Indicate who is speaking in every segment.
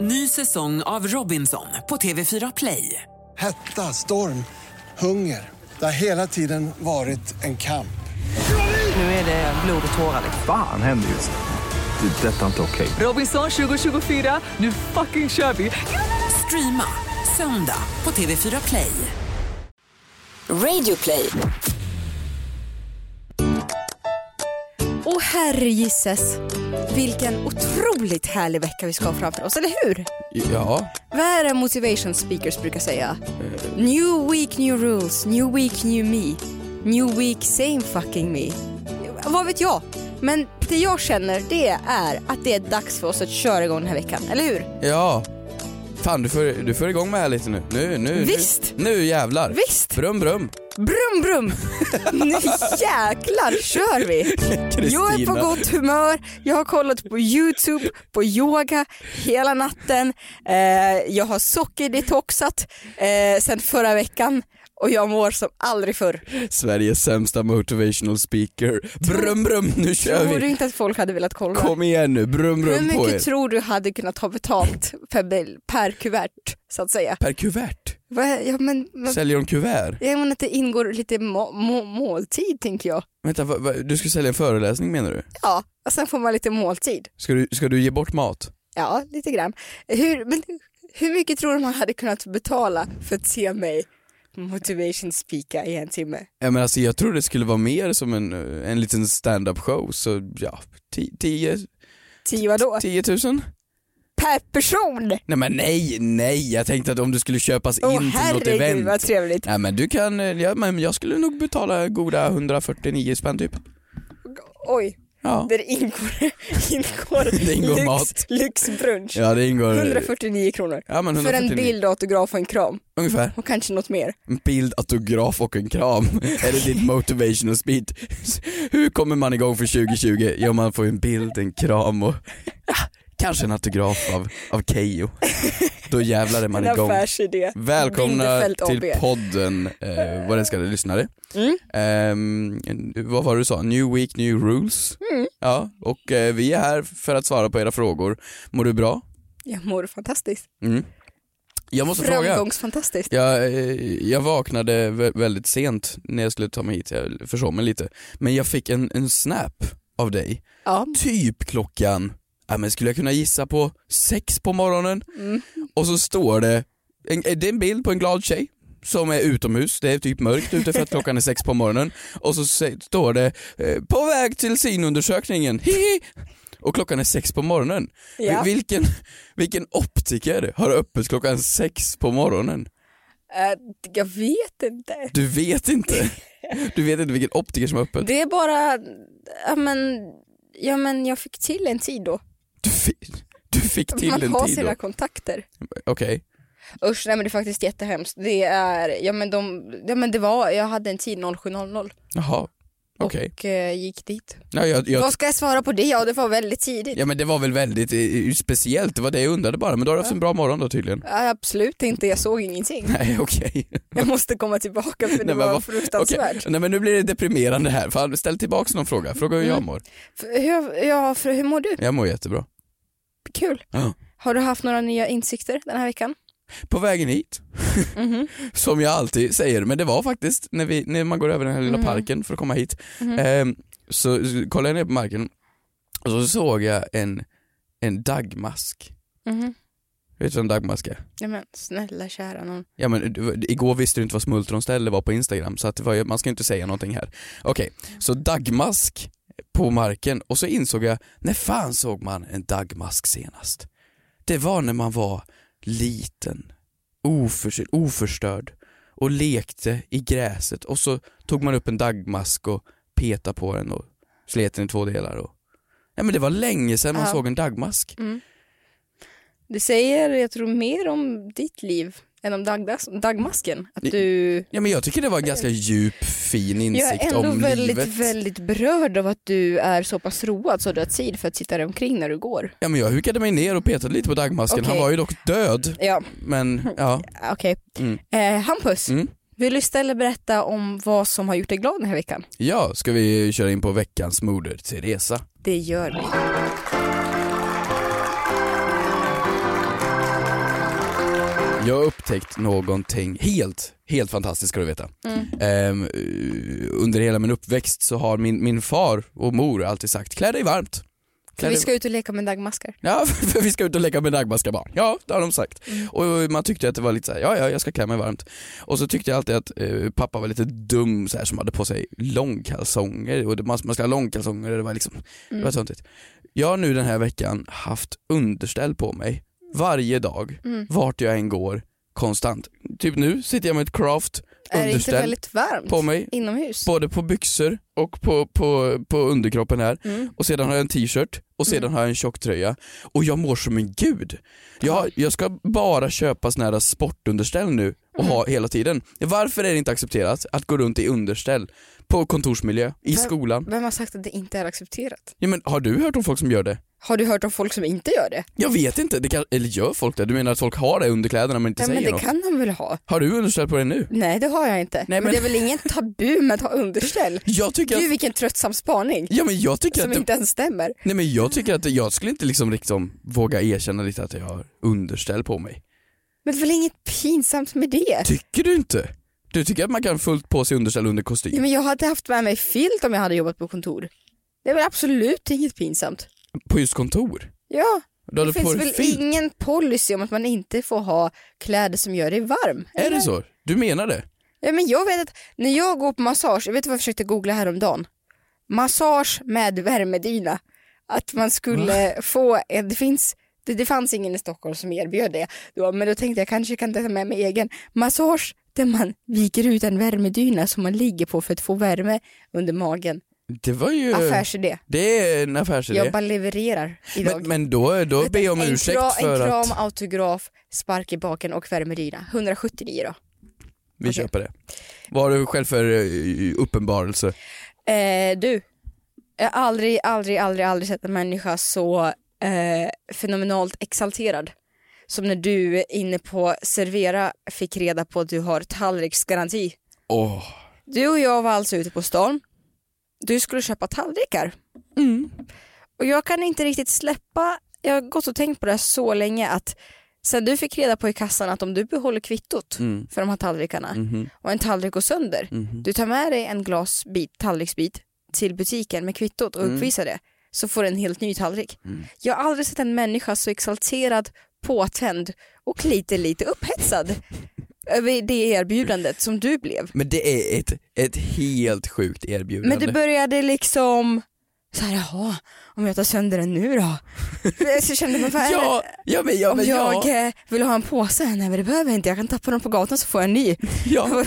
Speaker 1: Ny säsong av Robinson på TV4 Play.
Speaker 2: Hetta, storm, hunger. Det har hela tiden varit en kamp.
Speaker 1: Nu är det blod och tårar. liksom.
Speaker 3: Fan händer just nu. Det. är Detta är inte okej.
Speaker 1: Robinson 2024, nu fucking kör vi! Streama söndag på TV4 Play.
Speaker 4: Radio play.
Speaker 5: Och herregisses, vilken otroligt härlig vecka vi ska ha framför oss, eller hur?
Speaker 6: Ja,
Speaker 5: Vad är det motivation speakers brukar säga? New week, new rules, new week, new me. New week, same fucking me. Vad vet jag? Men det jag känner det är att det är dags för oss att köra igång den här veckan, eller hur?
Speaker 6: ja. Fan du får, du får igång med här lite nu. Nu, nu,
Speaker 5: Visst.
Speaker 6: nu. Nu jävlar.
Speaker 5: Visst.
Speaker 6: Brum brum.
Speaker 5: Brum brum! Nu jäklar kör vi! Jag är på
Speaker 6: Kristina.
Speaker 5: gott humör, jag har kollat på YouTube, på yoga hela natten, eh, jag har sockerdetoxat eh, sen förra veckan och jag mår som aldrig förr.
Speaker 6: Sveriges sämsta motivational speaker. Brum brum, nu kör
Speaker 5: Tror du
Speaker 6: vi.
Speaker 5: inte att folk hade velat kolla?
Speaker 6: Kom igen nu, brum
Speaker 5: Hur
Speaker 6: brum på er.
Speaker 5: mycket tror du hade kunnat ha betalt per, bil, per kuvert så att säga?
Speaker 6: Per kuvert.
Speaker 5: Vad är- Ja, men, men,
Speaker 6: Säljer de kuvert?
Speaker 5: jag menar att det ingår lite må, må, måltid tänker jag.
Speaker 6: Vänta, vad- vad- du ska sälja en föreläsning menar du?
Speaker 5: Ja, och sen får man lite måltid.
Speaker 6: Ska du, ska du ge bort mat?
Speaker 5: Ja, lite grann. Hur, men, hur mycket tror du man hade kunnat betala för att se mig motivation speaka i en timme?
Speaker 6: Ja, men alltså, jag tror det skulle vara mer som en, eh, en liten stand-up show, så ja, 10
Speaker 5: Tio vadå?
Speaker 6: 10 000?
Speaker 5: Per person!
Speaker 6: Nej men nej, nej, jag tänkte att om du skulle köpas
Speaker 5: Åh
Speaker 6: in till något
Speaker 5: herregud
Speaker 6: event.
Speaker 5: vad trevligt.
Speaker 6: Nej men du kan, eh, ja, men jag skulle nog betala goda 149 spänn typ.
Speaker 5: Oj,
Speaker 6: Ja,
Speaker 5: där ingår, ingår,
Speaker 6: Det ingår
Speaker 5: lyx,
Speaker 6: mat.
Speaker 5: lyxbrunch.
Speaker 6: ja det ingår.
Speaker 5: 149 kronor.
Speaker 6: Ja, men
Speaker 5: För
Speaker 6: 149.
Speaker 5: en bild, autograf och en kram.
Speaker 6: Ungefär.
Speaker 5: Och kanske något mer.
Speaker 6: En bild, autograf och en kram. Eller ditt motivational speed. Hur kommer man igång för 2020? Ja man får en bild, en kram och ja, kanske en autograf av, av Keyyo. Då jävlar är man
Speaker 5: En
Speaker 6: igång.
Speaker 5: affärsidé.
Speaker 6: Välkomna
Speaker 5: Bindefält
Speaker 6: till
Speaker 5: AB.
Speaker 6: podden, eh, vad den ska lyssnare.
Speaker 5: Mm.
Speaker 6: Ehm, vad var det du sa? New week, new rules. Ja, och eh, vi är här för att svara på era frågor. Mår du bra?
Speaker 5: Jag mår fantastiskt.
Speaker 6: Mm. Jag måste fråga.
Speaker 5: Framgångsfantastiskt.
Speaker 6: Jag, eh, jag vaknade vä- väldigt sent när jag skulle ta mig hit, jag försov mig lite. Men jag fick en, en snap av dig,
Speaker 5: Ja.
Speaker 6: typ klockan, ja, men skulle jag kunna gissa på, sex på morgonen.
Speaker 5: Mm.
Speaker 6: Och så står det, en, eh, det är en bild på en glad tjej som är utomhus, det är typ mörkt ute för att klockan är sex på morgonen. Och så se- står det, eh, på väg till synundersökningen, hihi! Och klockan är sex på morgonen.
Speaker 5: Ja.
Speaker 6: Vi- Vilken, vilken optiker har öppet klockan sex på morgonen?
Speaker 5: Eh, jag vet inte.
Speaker 6: Du vet inte. Du vet inte vilken optiker som har öppet.
Speaker 5: Det är bara, ja men, ja men jag fick till en tid då.
Speaker 6: Du fick, du fick till
Speaker 5: Man
Speaker 6: en
Speaker 5: har
Speaker 6: tid
Speaker 5: sina
Speaker 6: då.
Speaker 5: kontakter.
Speaker 6: Okej.
Speaker 5: Usch nej men det är faktiskt jättehemskt. Det är, ja men de, ja men det var, jag hade en tid 07.00
Speaker 6: Jaha. Okej.
Speaker 5: och eh, gick dit.
Speaker 6: Ja, jag, jag,
Speaker 5: Vad ska jag svara på det? Ja det var väldigt tidigt.
Speaker 6: ja men det var väl väldigt eh, speciellt, det var det jag undrade bara. Men då har du haft en bra morgon då tydligen.
Speaker 5: Ja, Absolut inte, jag såg ingenting.
Speaker 6: Nej okej.
Speaker 5: Jag måste komma tillbaka för det
Speaker 6: men
Speaker 5: var
Speaker 6: vad-
Speaker 5: fruktansvärt.
Speaker 6: Okej. Nej men nu blir det deprimerande här. Fan, ställ tillbaks någon fråga. Fråga hur
Speaker 5: Mm.
Speaker 6: jag mår.
Speaker 5: F- Hur, ja, för, hur mår du?
Speaker 6: Jag mår jättebra.
Speaker 5: Kul.
Speaker 6: Ja.
Speaker 5: Har du haft några nya insikter den här veckan?
Speaker 6: På vägen hit,
Speaker 5: Mhm.
Speaker 6: som jag alltid säger, men det var faktiskt när, vi, när man går över den här
Speaker 5: Mm-hmm.
Speaker 6: lilla parken för att komma hit, ehm, så, så kollade jag ner på marken och så såg jag en, en dagmask.
Speaker 5: Mhm.
Speaker 6: Vet du vad en dagmask är?
Speaker 5: Ja, men snälla kära någon.
Speaker 6: Ja men du- igår visste du inte vad smultronställe var på Instagram så att det var, ju- man ska ju inte säga någonting här. Okej, så dagmask på marken och så insåg jag, när fan såg man en dagmask senast? Det var när man var liten, oförstörd, oförstörd och lekte i gräset och så tog man upp en dagmask och petade på den och slet den i två delar. Och... Ja men det var länge sedan man
Speaker 5: Ja. Mm.
Speaker 6: såg en dagmask.
Speaker 5: Det säger, jag tror, mer om ditt liv än om dagdas, dagmasken. Att
Speaker 6: Ni-
Speaker 5: du...
Speaker 6: Ja men jag tycker det var en ganska djup, fin
Speaker 5: Jag är
Speaker 6: insikt
Speaker 5: ändå
Speaker 6: om
Speaker 5: väldigt,
Speaker 6: livet.
Speaker 5: väldigt berörd av att du är så pass road så du har tid för att sitta där omkring när du går.
Speaker 6: Ja men jag hukade mig ner och petade lite på dagmasken, han
Speaker 5: Okej.
Speaker 6: var ju dock död.
Speaker 5: Ja,
Speaker 6: Men ja,
Speaker 5: okej.
Speaker 6: Mm.
Speaker 5: Eh, Hampus,
Speaker 6: Mm.
Speaker 5: vill du istället berätta om vad som har gjort dig glad den här veckan?
Speaker 6: ja ska vi köra in på veckans moder, Teresa.
Speaker 5: Det gör vi.
Speaker 6: Jag har upptäckt någonting helt, helt fantastiskt ska du veta.
Speaker 5: Mm.
Speaker 6: Ehm, eh, under hela min uppväxt så har min, min far och mor alltid sagt klä dig varmt. Klä
Speaker 5: Vi
Speaker 6: dig-
Speaker 5: ska ut och leka med dagmaskar.
Speaker 6: Ja, för, för vi ska ut och leka med dagmaskar barn. Ja, det har de sagt.
Speaker 5: Mm.
Speaker 6: Och man tyckte att det var lite så här, ja, ja, jag ska klä mig varmt. Och så tyckte jag alltid att eh, pappa var lite dum så här som hade på sig långkalsonger och det, man, man ska ha långkalsonger och det var liksom, det
Speaker 5: Mm.
Speaker 6: var sånt. Jag har nu den här veckan haft underställ på mig varje dag,
Speaker 5: Mm.
Speaker 6: vart jag än går, konstant. Typ nu sitter jag med ett craft
Speaker 5: Är det inte
Speaker 6: underställ
Speaker 5: väldigt varmt
Speaker 6: på mig
Speaker 5: inomhus?
Speaker 6: både på byxor och på, på, på underkroppen här
Speaker 5: Mm.
Speaker 6: och sedan har jag en t-shirt och sedan har jag en tjocktröja och jag mår som en gud. Jag, jag ska bara köpa såna här sportunderställ nu och ha
Speaker 5: Mm.
Speaker 6: hela tiden. Varför är det inte accepterat att gå runt i underställ på kontorsmiljö, i
Speaker 5: För-
Speaker 6: skolan?
Speaker 5: Vem har sagt att det inte är accepterat?
Speaker 6: Ja, men har du hört om folk som gör det?
Speaker 5: Har du hört om folk som inte gör det?
Speaker 6: Jag vet inte, det kan, eller gör folk det? Du menar att folk har det under kläderna men inte
Speaker 5: Nej, men
Speaker 6: säger
Speaker 5: det
Speaker 6: något?
Speaker 5: kan de väl ha?
Speaker 6: Har du underställ på dig nu?
Speaker 5: Nej det har jag inte. men...
Speaker 6: men-
Speaker 5: det är väl ingen tabu med att ha underställ?
Speaker 6: Jag tycker att,
Speaker 5: Gud vilken tröttsam spaning
Speaker 6: ja, men jag tycker
Speaker 5: som
Speaker 6: att det,
Speaker 5: inte ens stämmer.
Speaker 6: Nej men jag tycker att jag skulle inte liksom, liksom våga erkänna lite att jag har underställ på mig.
Speaker 5: Men det är väl inget pinsamt med det?
Speaker 6: Tycker du inte? Du tycker att man kan fullt på sig underställ under kostym?
Speaker 5: Ja, men jag hade haft med mig filt om jag hade jobbat på kontor. Det är väl absolut inget pinsamt.
Speaker 6: På just kontor?
Speaker 5: Ja,
Speaker 6: Du
Speaker 5: det
Speaker 6: hade på
Speaker 5: finns
Speaker 6: dig
Speaker 5: väl
Speaker 6: fint?
Speaker 5: ingen policy om att man inte får ha kläder som gör dig varm.
Speaker 6: Är det så? Du menar det?
Speaker 5: Ja, men jag vet att när jag går på massage, jag vet vad jag försökte googla häromdagen? Massage med värmedyna. Att man skulle få, en, det finns det, det fanns ingen i Stockholm som erbjöd det då, men då tänkte jag kanske kan ta med mig egen massage där man viker ut en värmedyna som man ligger på för att få värme under magen.
Speaker 6: Det var ju...
Speaker 5: Affärsidé.
Speaker 6: Det är en affärsidé.
Speaker 5: Jag bara levererar idag.
Speaker 6: men, men då, då ber jag om
Speaker 5: en
Speaker 6: ursäkt
Speaker 5: kra-
Speaker 6: för
Speaker 5: En kram,
Speaker 6: att
Speaker 5: autograf, spark i baken och värmedyna. 179 då.
Speaker 6: vi köper det. Vad har du själv för eh, uppenbarelse?
Speaker 5: Eh, du, jag har aldrig, aldrig, aldrig, aldrig sett en människa så eh, fenomenalt exalterad som när du inne på Servera fick reda på att du har tallriksgaranti.
Speaker 6: Åh,
Speaker 5: Du och jag var alltså ute på stan. Du skulle köpa tallrikar. Och jag kan inte riktigt släppa, jag har gått och tänkt på det här så länge att sen du fick reda på i kassan att om du behåller kvittot för de här tallrikarna och en tallrik går sönder, du tar med dig en glasbit, tallriksbit till butiken med kvittot och uppvisar det så får du en helt ny tallrik. Jag har aldrig sett en människa så exalterad, påtänd och lite, lite upphetsad över det erbjudandet som du blev.
Speaker 6: men det är ett, ett helt sjukt erbjudande.
Speaker 5: Men du började liksom så här, jaha, om jag tar sönder den nu då? Så jag kände man, vad är det?
Speaker 6: Ja, ja men ja,
Speaker 5: om
Speaker 6: men ja.
Speaker 5: jag eh, vill ha en påse, nej men det behöver jag inte, jag kan tappa den på gatan så får jag en ny.
Speaker 6: Ja,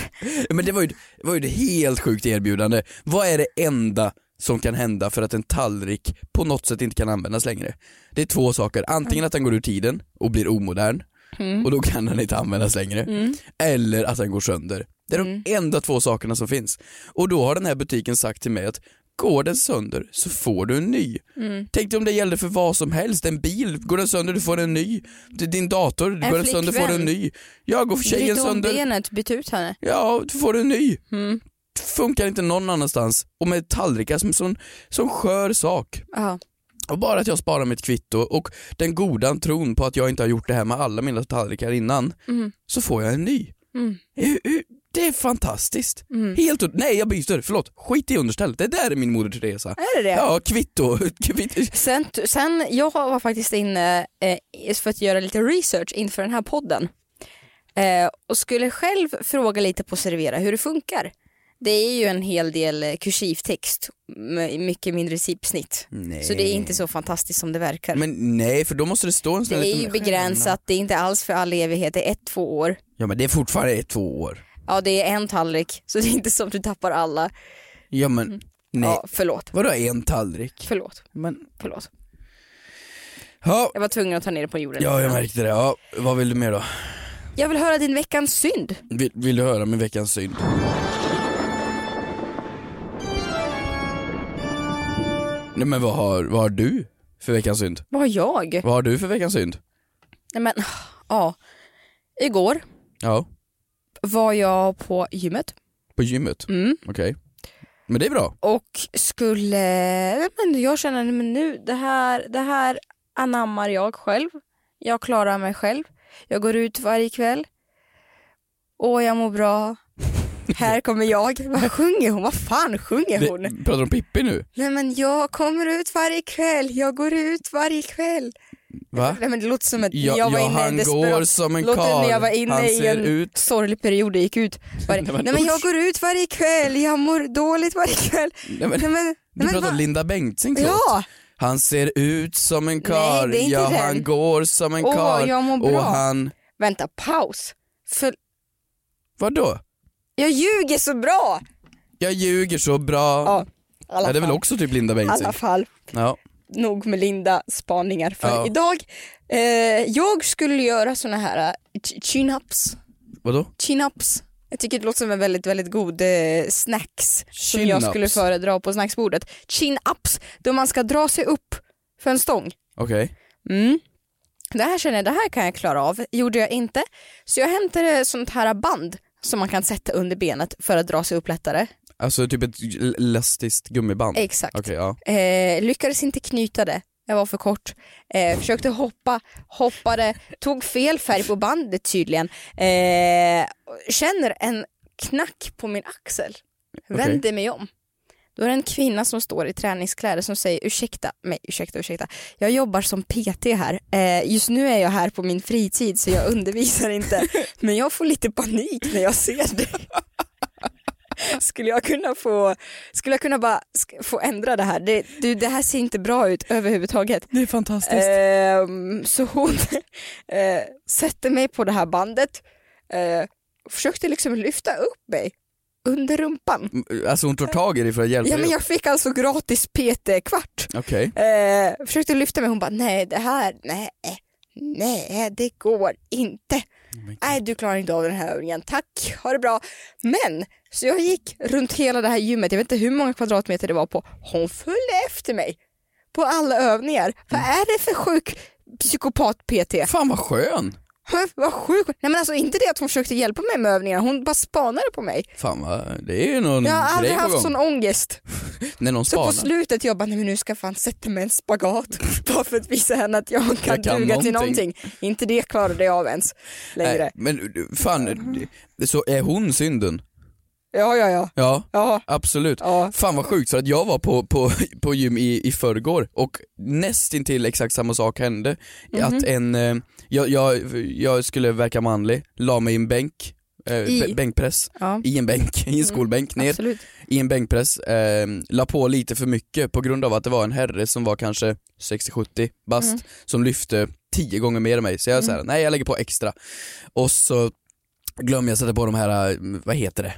Speaker 6: men det var ju, det var ju ett helt sjukt erbjudande. Vad är det enda som kan hända för att en tallrik på något sätt inte kan användas längre? Det är två saker, antingen att den går ur tiden och blir omodern och då kan den inte användas längre. Eller att den går sönder. Det är de enda två sakerna som finns. Och då har den här butiken sagt till mig att Går den sönder så får du en ny. Tänk dig om det gällde för vad som helst, en bil, går den sönder du får en ny. Din dator, går den sönder får du en
Speaker 5: flickvän.
Speaker 6: ny. Ja, går tjejen
Speaker 5: Bryt om
Speaker 6: sönder,
Speaker 5: benet, byt ut henne.
Speaker 6: Ja, då får du en ny.
Speaker 5: Mm.
Speaker 6: Funkar inte någon annanstans. Och med tallrikar som, som, som skör sak.
Speaker 5: Ja.
Speaker 6: Och bara att jag sparar mitt kvitto och den goda tron på att jag inte har gjort det här med alla mina tallrikar innan,
Speaker 5: Mm.
Speaker 6: så får jag en ny. Hur- hur- Det är fantastiskt.
Speaker 5: Mm.
Speaker 6: Helt ut- Nej, jag byter. Förlåt. Skit i understället. Det där är min moder Teresa.
Speaker 5: Är det det?
Speaker 6: Ja, kvitto. kvitto.
Speaker 5: Sen, sen jag var faktiskt inne eh, för att göra lite research inför den här podden eh, och skulle själv fråga lite på Servera hur det funkar. Det är ju en hel del eh, kursivtext med mycket mindre sipsnitt. Så det är inte så fantastiskt som det verkar.
Speaker 6: Men nej, för då måste det stå en sån
Speaker 5: det
Speaker 6: här
Speaker 5: är
Speaker 6: liten
Speaker 5: ju
Speaker 6: stjärna.
Speaker 5: begränsat, det är inte alls för all evighet, det är ett, två år.
Speaker 6: Ja, men det är fortfarande ett, två år.
Speaker 5: Ja det är en tallrik, så det är inte som du tappar alla.
Speaker 6: Ja, men nej.
Speaker 5: Mm. Ja, förlåt,
Speaker 6: Vadå en tallrik?
Speaker 5: förlåt,
Speaker 6: Men,
Speaker 5: förlåt.
Speaker 6: ja,
Speaker 5: Jag var tvungen att ta ner det på jorden.
Speaker 6: Ja, jag märkte det. Ja, vad vill du mer då?
Speaker 5: jag vill höra din veckans synd.
Speaker 6: Vill, vill du höra min veckans synd? Nej men vad har, vad har du för veckans synd?
Speaker 5: Vad har jag?
Speaker 6: Vad har du för veckans synd?
Speaker 5: Nej men, ja. Igår
Speaker 6: Ja,
Speaker 5: var jag på gymmet
Speaker 6: på gymmet?
Speaker 5: Mm.
Speaker 6: Okej. Men det är bra.
Speaker 5: och skulle, nej, men jag känner men nu, det här, det här anammar jag själv. Jag klarar mig själv. Jag går ut varje kväll. Åh, jag mår bra. Här kommer jag. Vad sjunger hon? Vad fan sjunger hon?
Speaker 6: Det, pratar du om Pippi nu?
Speaker 5: Nej men jag kommer ut varje kväll, jag går ut varje kväll.
Speaker 6: Va?
Speaker 5: Nej men det låter som att
Speaker 6: Ja,
Speaker 5: jag var
Speaker 6: ja,
Speaker 5: inne i en
Speaker 6: han
Speaker 5: desperat...
Speaker 6: går som en
Speaker 5: låter
Speaker 6: karl.
Speaker 5: när jag var inne
Speaker 6: Han
Speaker 5: i
Speaker 6: ser
Speaker 5: en
Speaker 6: ut-
Speaker 5: sorglig period och gick ut. Varje...
Speaker 6: Nej,
Speaker 5: Nej,
Speaker 6: men
Speaker 5: men, jag går ut varje kväll, jag mår dåligt varje kväll.
Speaker 6: Nej, men,
Speaker 5: Nej, men, nej,
Speaker 6: du
Speaker 5: men
Speaker 6: pratar om
Speaker 5: vad-
Speaker 6: Linda Bengtzings
Speaker 5: Ja,
Speaker 6: låt. Han ser ut som en karl,
Speaker 5: det är inte
Speaker 6: ja
Speaker 5: den.
Speaker 6: han går som en
Speaker 5: Åh,
Speaker 6: karl
Speaker 5: jag mår bra.
Speaker 6: och han...
Speaker 5: vänta paus. För
Speaker 6: Vadå?
Speaker 5: jag ljuger så bra.
Speaker 6: Jag ljuger så bra.
Speaker 5: Ja, i alla
Speaker 6: Ja, det är
Speaker 5: fall.
Speaker 6: väl också typ Linda
Speaker 5: I
Speaker 6: Bengtzing?
Speaker 5: alla fall.
Speaker 6: Ja.
Speaker 5: nog med Linda spaningar för
Speaker 6: Ja.
Speaker 5: idag. Eh, jag skulle göra såna här eh, ch- chin-ups.
Speaker 6: Vadå?
Speaker 5: Chin-ups. Jag tycker det låter som en väldigt, väldigt god eh, snacks som jag
Speaker 6: Chin-ups.
Speaker 5: skulle föredra på snacksbordet. Chin-ups, då man ska dra sig upp för en stång.
Speaker 6: Okej.
Speaker 5: Mm. Det här känner jag, det här kan jag klara av. Gjorde jag inte. Så jag hämtade sånt här band som man kan sätta under benet för att dra sig upp lättare.
Speaker 6: Alltså typ ett l- elastiskt gummiband?
Speaker 5: Exakt.
Speaker 6: Okej, ja.
Speaker 5: Eh, lyckades inte knyta det. Jag var för kort. Eh, försökte hoppa, hoppade, tog fel färg på bandet tydligen. Eh, känner en knack på min axel. Vänder mig om. Då är det en kvinna som står i träningskläder som säger ursäkta mig, ursäkta, ursäkta. Jag jobbar som PT här. Eh, just nu är jag här på min fritid så jag undervisar inte. Men jag får lite panik när jag ser dig. Skulle jag kunna få, skulle jag kunna bara sk- få ändra det här? Det, du, det här ser inte bra ut överhuvudtaget.
Speaker 6: Det är fantastiskt.
Speaker 5: Ehm, så hon eh, sätter mig på det här bandet, eh, försökte liksom lyfta upp mig under rumpan.
Speaker 6: Alltså hon tar tag i dig för att hjälpa
Speaker 5: Eh, Ja
Speaker 6: dig
Speaker 5: men
Speaker 6: upp?
Speaker 5: jag fick alltså gratis PT-kvart.
Speaker 6: Okej.
Speaker 5: Eh, försökte lyfta mig, hon bara nej det här, nej, nej det går inte.
Speaker 6: Oh
Speaker 5: Nej du klarar inte av den här övningen, tack, ha det bra. Men, så jag gick runt hela det här gymmet, jag vet inte hur många kvadratmeter det var på, hon följde efter mig på alla övningar. Vad
Speaker 6: Mm.
Speaker 5: är det för sjuk psykopat-PT?
Speaker 6: Fan vad skön!
Speaker 5: Hö, Vad sjuk, nej men alltså inte det att hon försökte hjälpa mig med övningarna, hon bara spanade på mig.
Speaker 6: Fan vad, det är ju någon
Speaker 5: Jag har aldrig
Speaker 6: Mm, grej på
Speaker 5: haft
Speaker 6: gång.
Speaker 5: sån ångest.
Speaker 6: När någon
Speaker 5: Så
Speaker 6: spanar.
Speaker 5: på slutet jag bara, nej men nu ska jag fan sätta mig i en spagat bara för att visa henne att jag kan,
Speaker 6: kan
Speaker 5: duga till
Speaker 6: någonting.
Speaker 5: någonting. Inte det klarade jag av ens längre.
Speaker 6: Nej, men fan, det- så är hon synden?
Speaker 5: Ja, ja, ja.
Speaker 6: Ja.
Speaker 5: ja.
Speaker 6: Absolut.
Speaker 5: Ja.
Speaker 6: Fan vad sjukt för att jag var på, på, på gym i, i förrgår och nästintill exakt samma sak hände.
Speaker 5: Mhm.
Speaker 6: Att en, eh, jag, jag, jag skulle verka manlig, la mig i en bänk, eh,
Speaker 5: I?
Speaker 6: bä- bänkpress,
Speaker 5: Ja. Mm.
Speaker 6: i en bänk, i en skolbänk ner,
Speaker 5: Absolut.
Speaker 6: i en bänkpress, eh, la på lite för mycket på grund av att det var en herre som var kanske 60-70 bast som lyfte 10 gånger mer än mig så jag mm. såhär, nej jag lägger på extra. Och så glömmer jag sätta på de här, eh, vad heter det?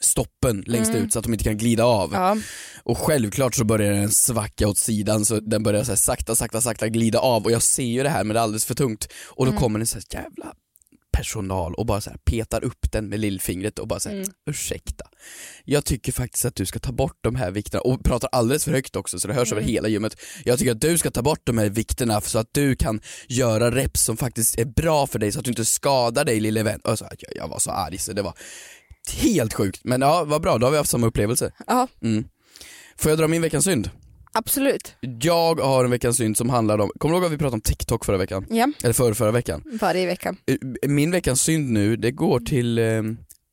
Speaker 6: stoppen längst ut så att de inte kan glida av.
Speaker 5: Ja.
Speaker 6: Och självklart så börjar den svacka åt sidan så den börjar så här sakta, sakta, sakta glida av och jag ser ju det här men det är alldeles för tungt. Och då kommer det så här jävla personal och bara så här petar upp den med lillfingret och bara säger ursäkta. Jag tycker faktiskt att du ska ta bort de här vikterna och pratar alldeles för högt också så det hörs över hela gymmet. Jag tycker att du ska ta bort de här vikterna så att du kan göra reps som faktiskt är bra för dig så att du inte skadar dig lille vän. Och så, jag, jag var så arg så det var helt sjukt. Men ja, vad bra, då har vi haft samma upplevelse.
Speaker 5: ja,
Speaker 6: Får jag dra min veckans synd?
Speaker 5: absolut.
Speaker 6: Jag har en veckans synd som handlar om, kommer du ihåg att vi pratade om TikTok förra veckan?
Speaker 5: Ja,
Speaker 6: Eller förra, förra veckan.
Speaker 5: varje vecka.
Speaker 6: Eh, Min veckans synd nu, det går till, eh,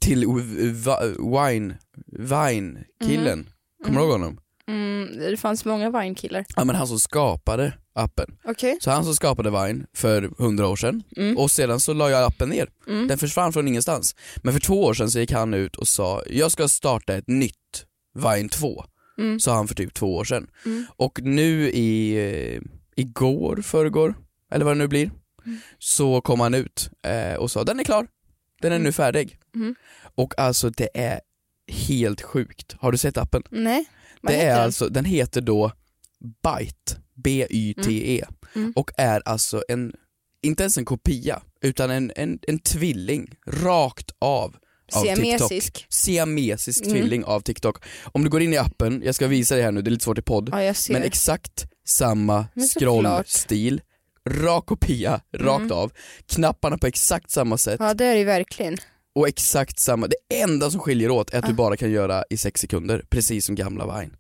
Speaker 6: till w- va- Wine, Vine-killen. Kommer du ihåg honom?
Speaker 5: Mm, det fanns många Vine-killar.
Speaker 6: Ja men han som skapade appen.
Speaker 5: Okej.
Speaker 6: Så han som skapade Vine för hundra år sedan och sedan så la jag appen ner. Den försvann från ingenstans. Men för två år sedan så gick han ut och sa jag ska starta ett nytt Vine 2. Sa han för typ två år sedan. Och nu i, eh, igår, förrgår, eller vad det nu blir, så kom han ut eh, och sa den är klar, den är nu färdig. Och alltså det är helt sjukt. Har du sett appen?
Speaker 5: Nej. Vad
Speaker 6: det
Speaker 5: heter
Speaker 6: är
Speaker 5: den?
Speaker 6: alltså, den heter då Byte, B-Y-T-E, E,
Speaker 5: Mm.
Speaker 6: och är alltså en, inte ens en kopia, utan en, en, en tvilling rakt av av
Speaker 5: Siamesisk. Mm.
Speaker 6: TikTok. Siamesisk tvilling av TikTok. Om du går in i appen, jag ska visa dig här nu, det är lite svårt i podd,
Speaker 5: Ja, jag ser.
Speaker 6: men exakt samma
Speaker 5: Men såklart. Mm.
Speaker 6: scrollstil, rak kopia, rakt av, knapparna på exakt samma sätt
Speaker 5: Ja, det är det ju verkligen.
Speaker 6: och exakt samma, det enda som skiljer åt är
Speaker 5: Ah.
Speaker 6: att du bara kan göra i sex sekunder, precis som gamla Vine.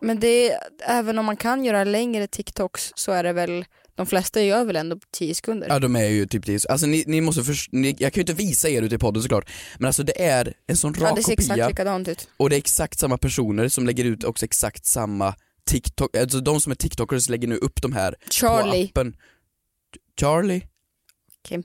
Speaker 5: Men det är, även om man kan göra längre TikToks så är det väl De flesta gör väl ändå 10 sekunder?
Speaker 6: Ja de är ju typ 10, alltså ni, ni måste först, ni, jag kan ju inte visa er ute i podden såklart, men alltså det är en sån rak
Speaker 5: Ja, det ser exakt
Speaker 6: kopia
Speaker 5: likadant ut.
Speaker 6: och det är exakt samma personer som lägger ut också exakt samma TikTok, alltså de som är TikTokers lägger nu upp de här på
Speaker 5: Charlie,
Speaker 6: appen. Charlie?
Speaker 5: Okej. jag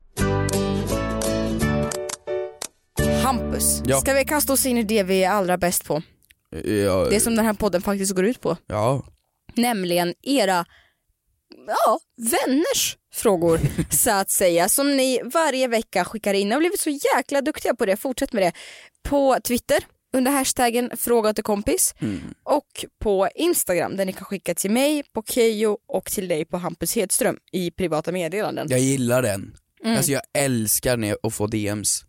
Speaker 5: Hampus,
Speaker 6: Ja.
Speaker 5: ska vi kasta oss in i det vi är allra bäst på?
Speaker 6: Ja,
Speaker 5: Det som den här podden faktiskt går ut på.
Speaker 6: ja.
Speaker 5: Nämligen era ja, vänners frågor så att säga som ni varje vecka skickar in. Ni har blivit så jäkla duktiga på det, fortsätt med det. På Twitter under hashtaggen fråga till kompis och på Instagram där ni kan skicka till mig, på Kejo och till dig på Hampus Hedström i privata meddelanden.
Speaker 6: Jag gillar den.
Speaker 5: Mm.
Speaker 6: Alltså jag älskar när jag får DMs.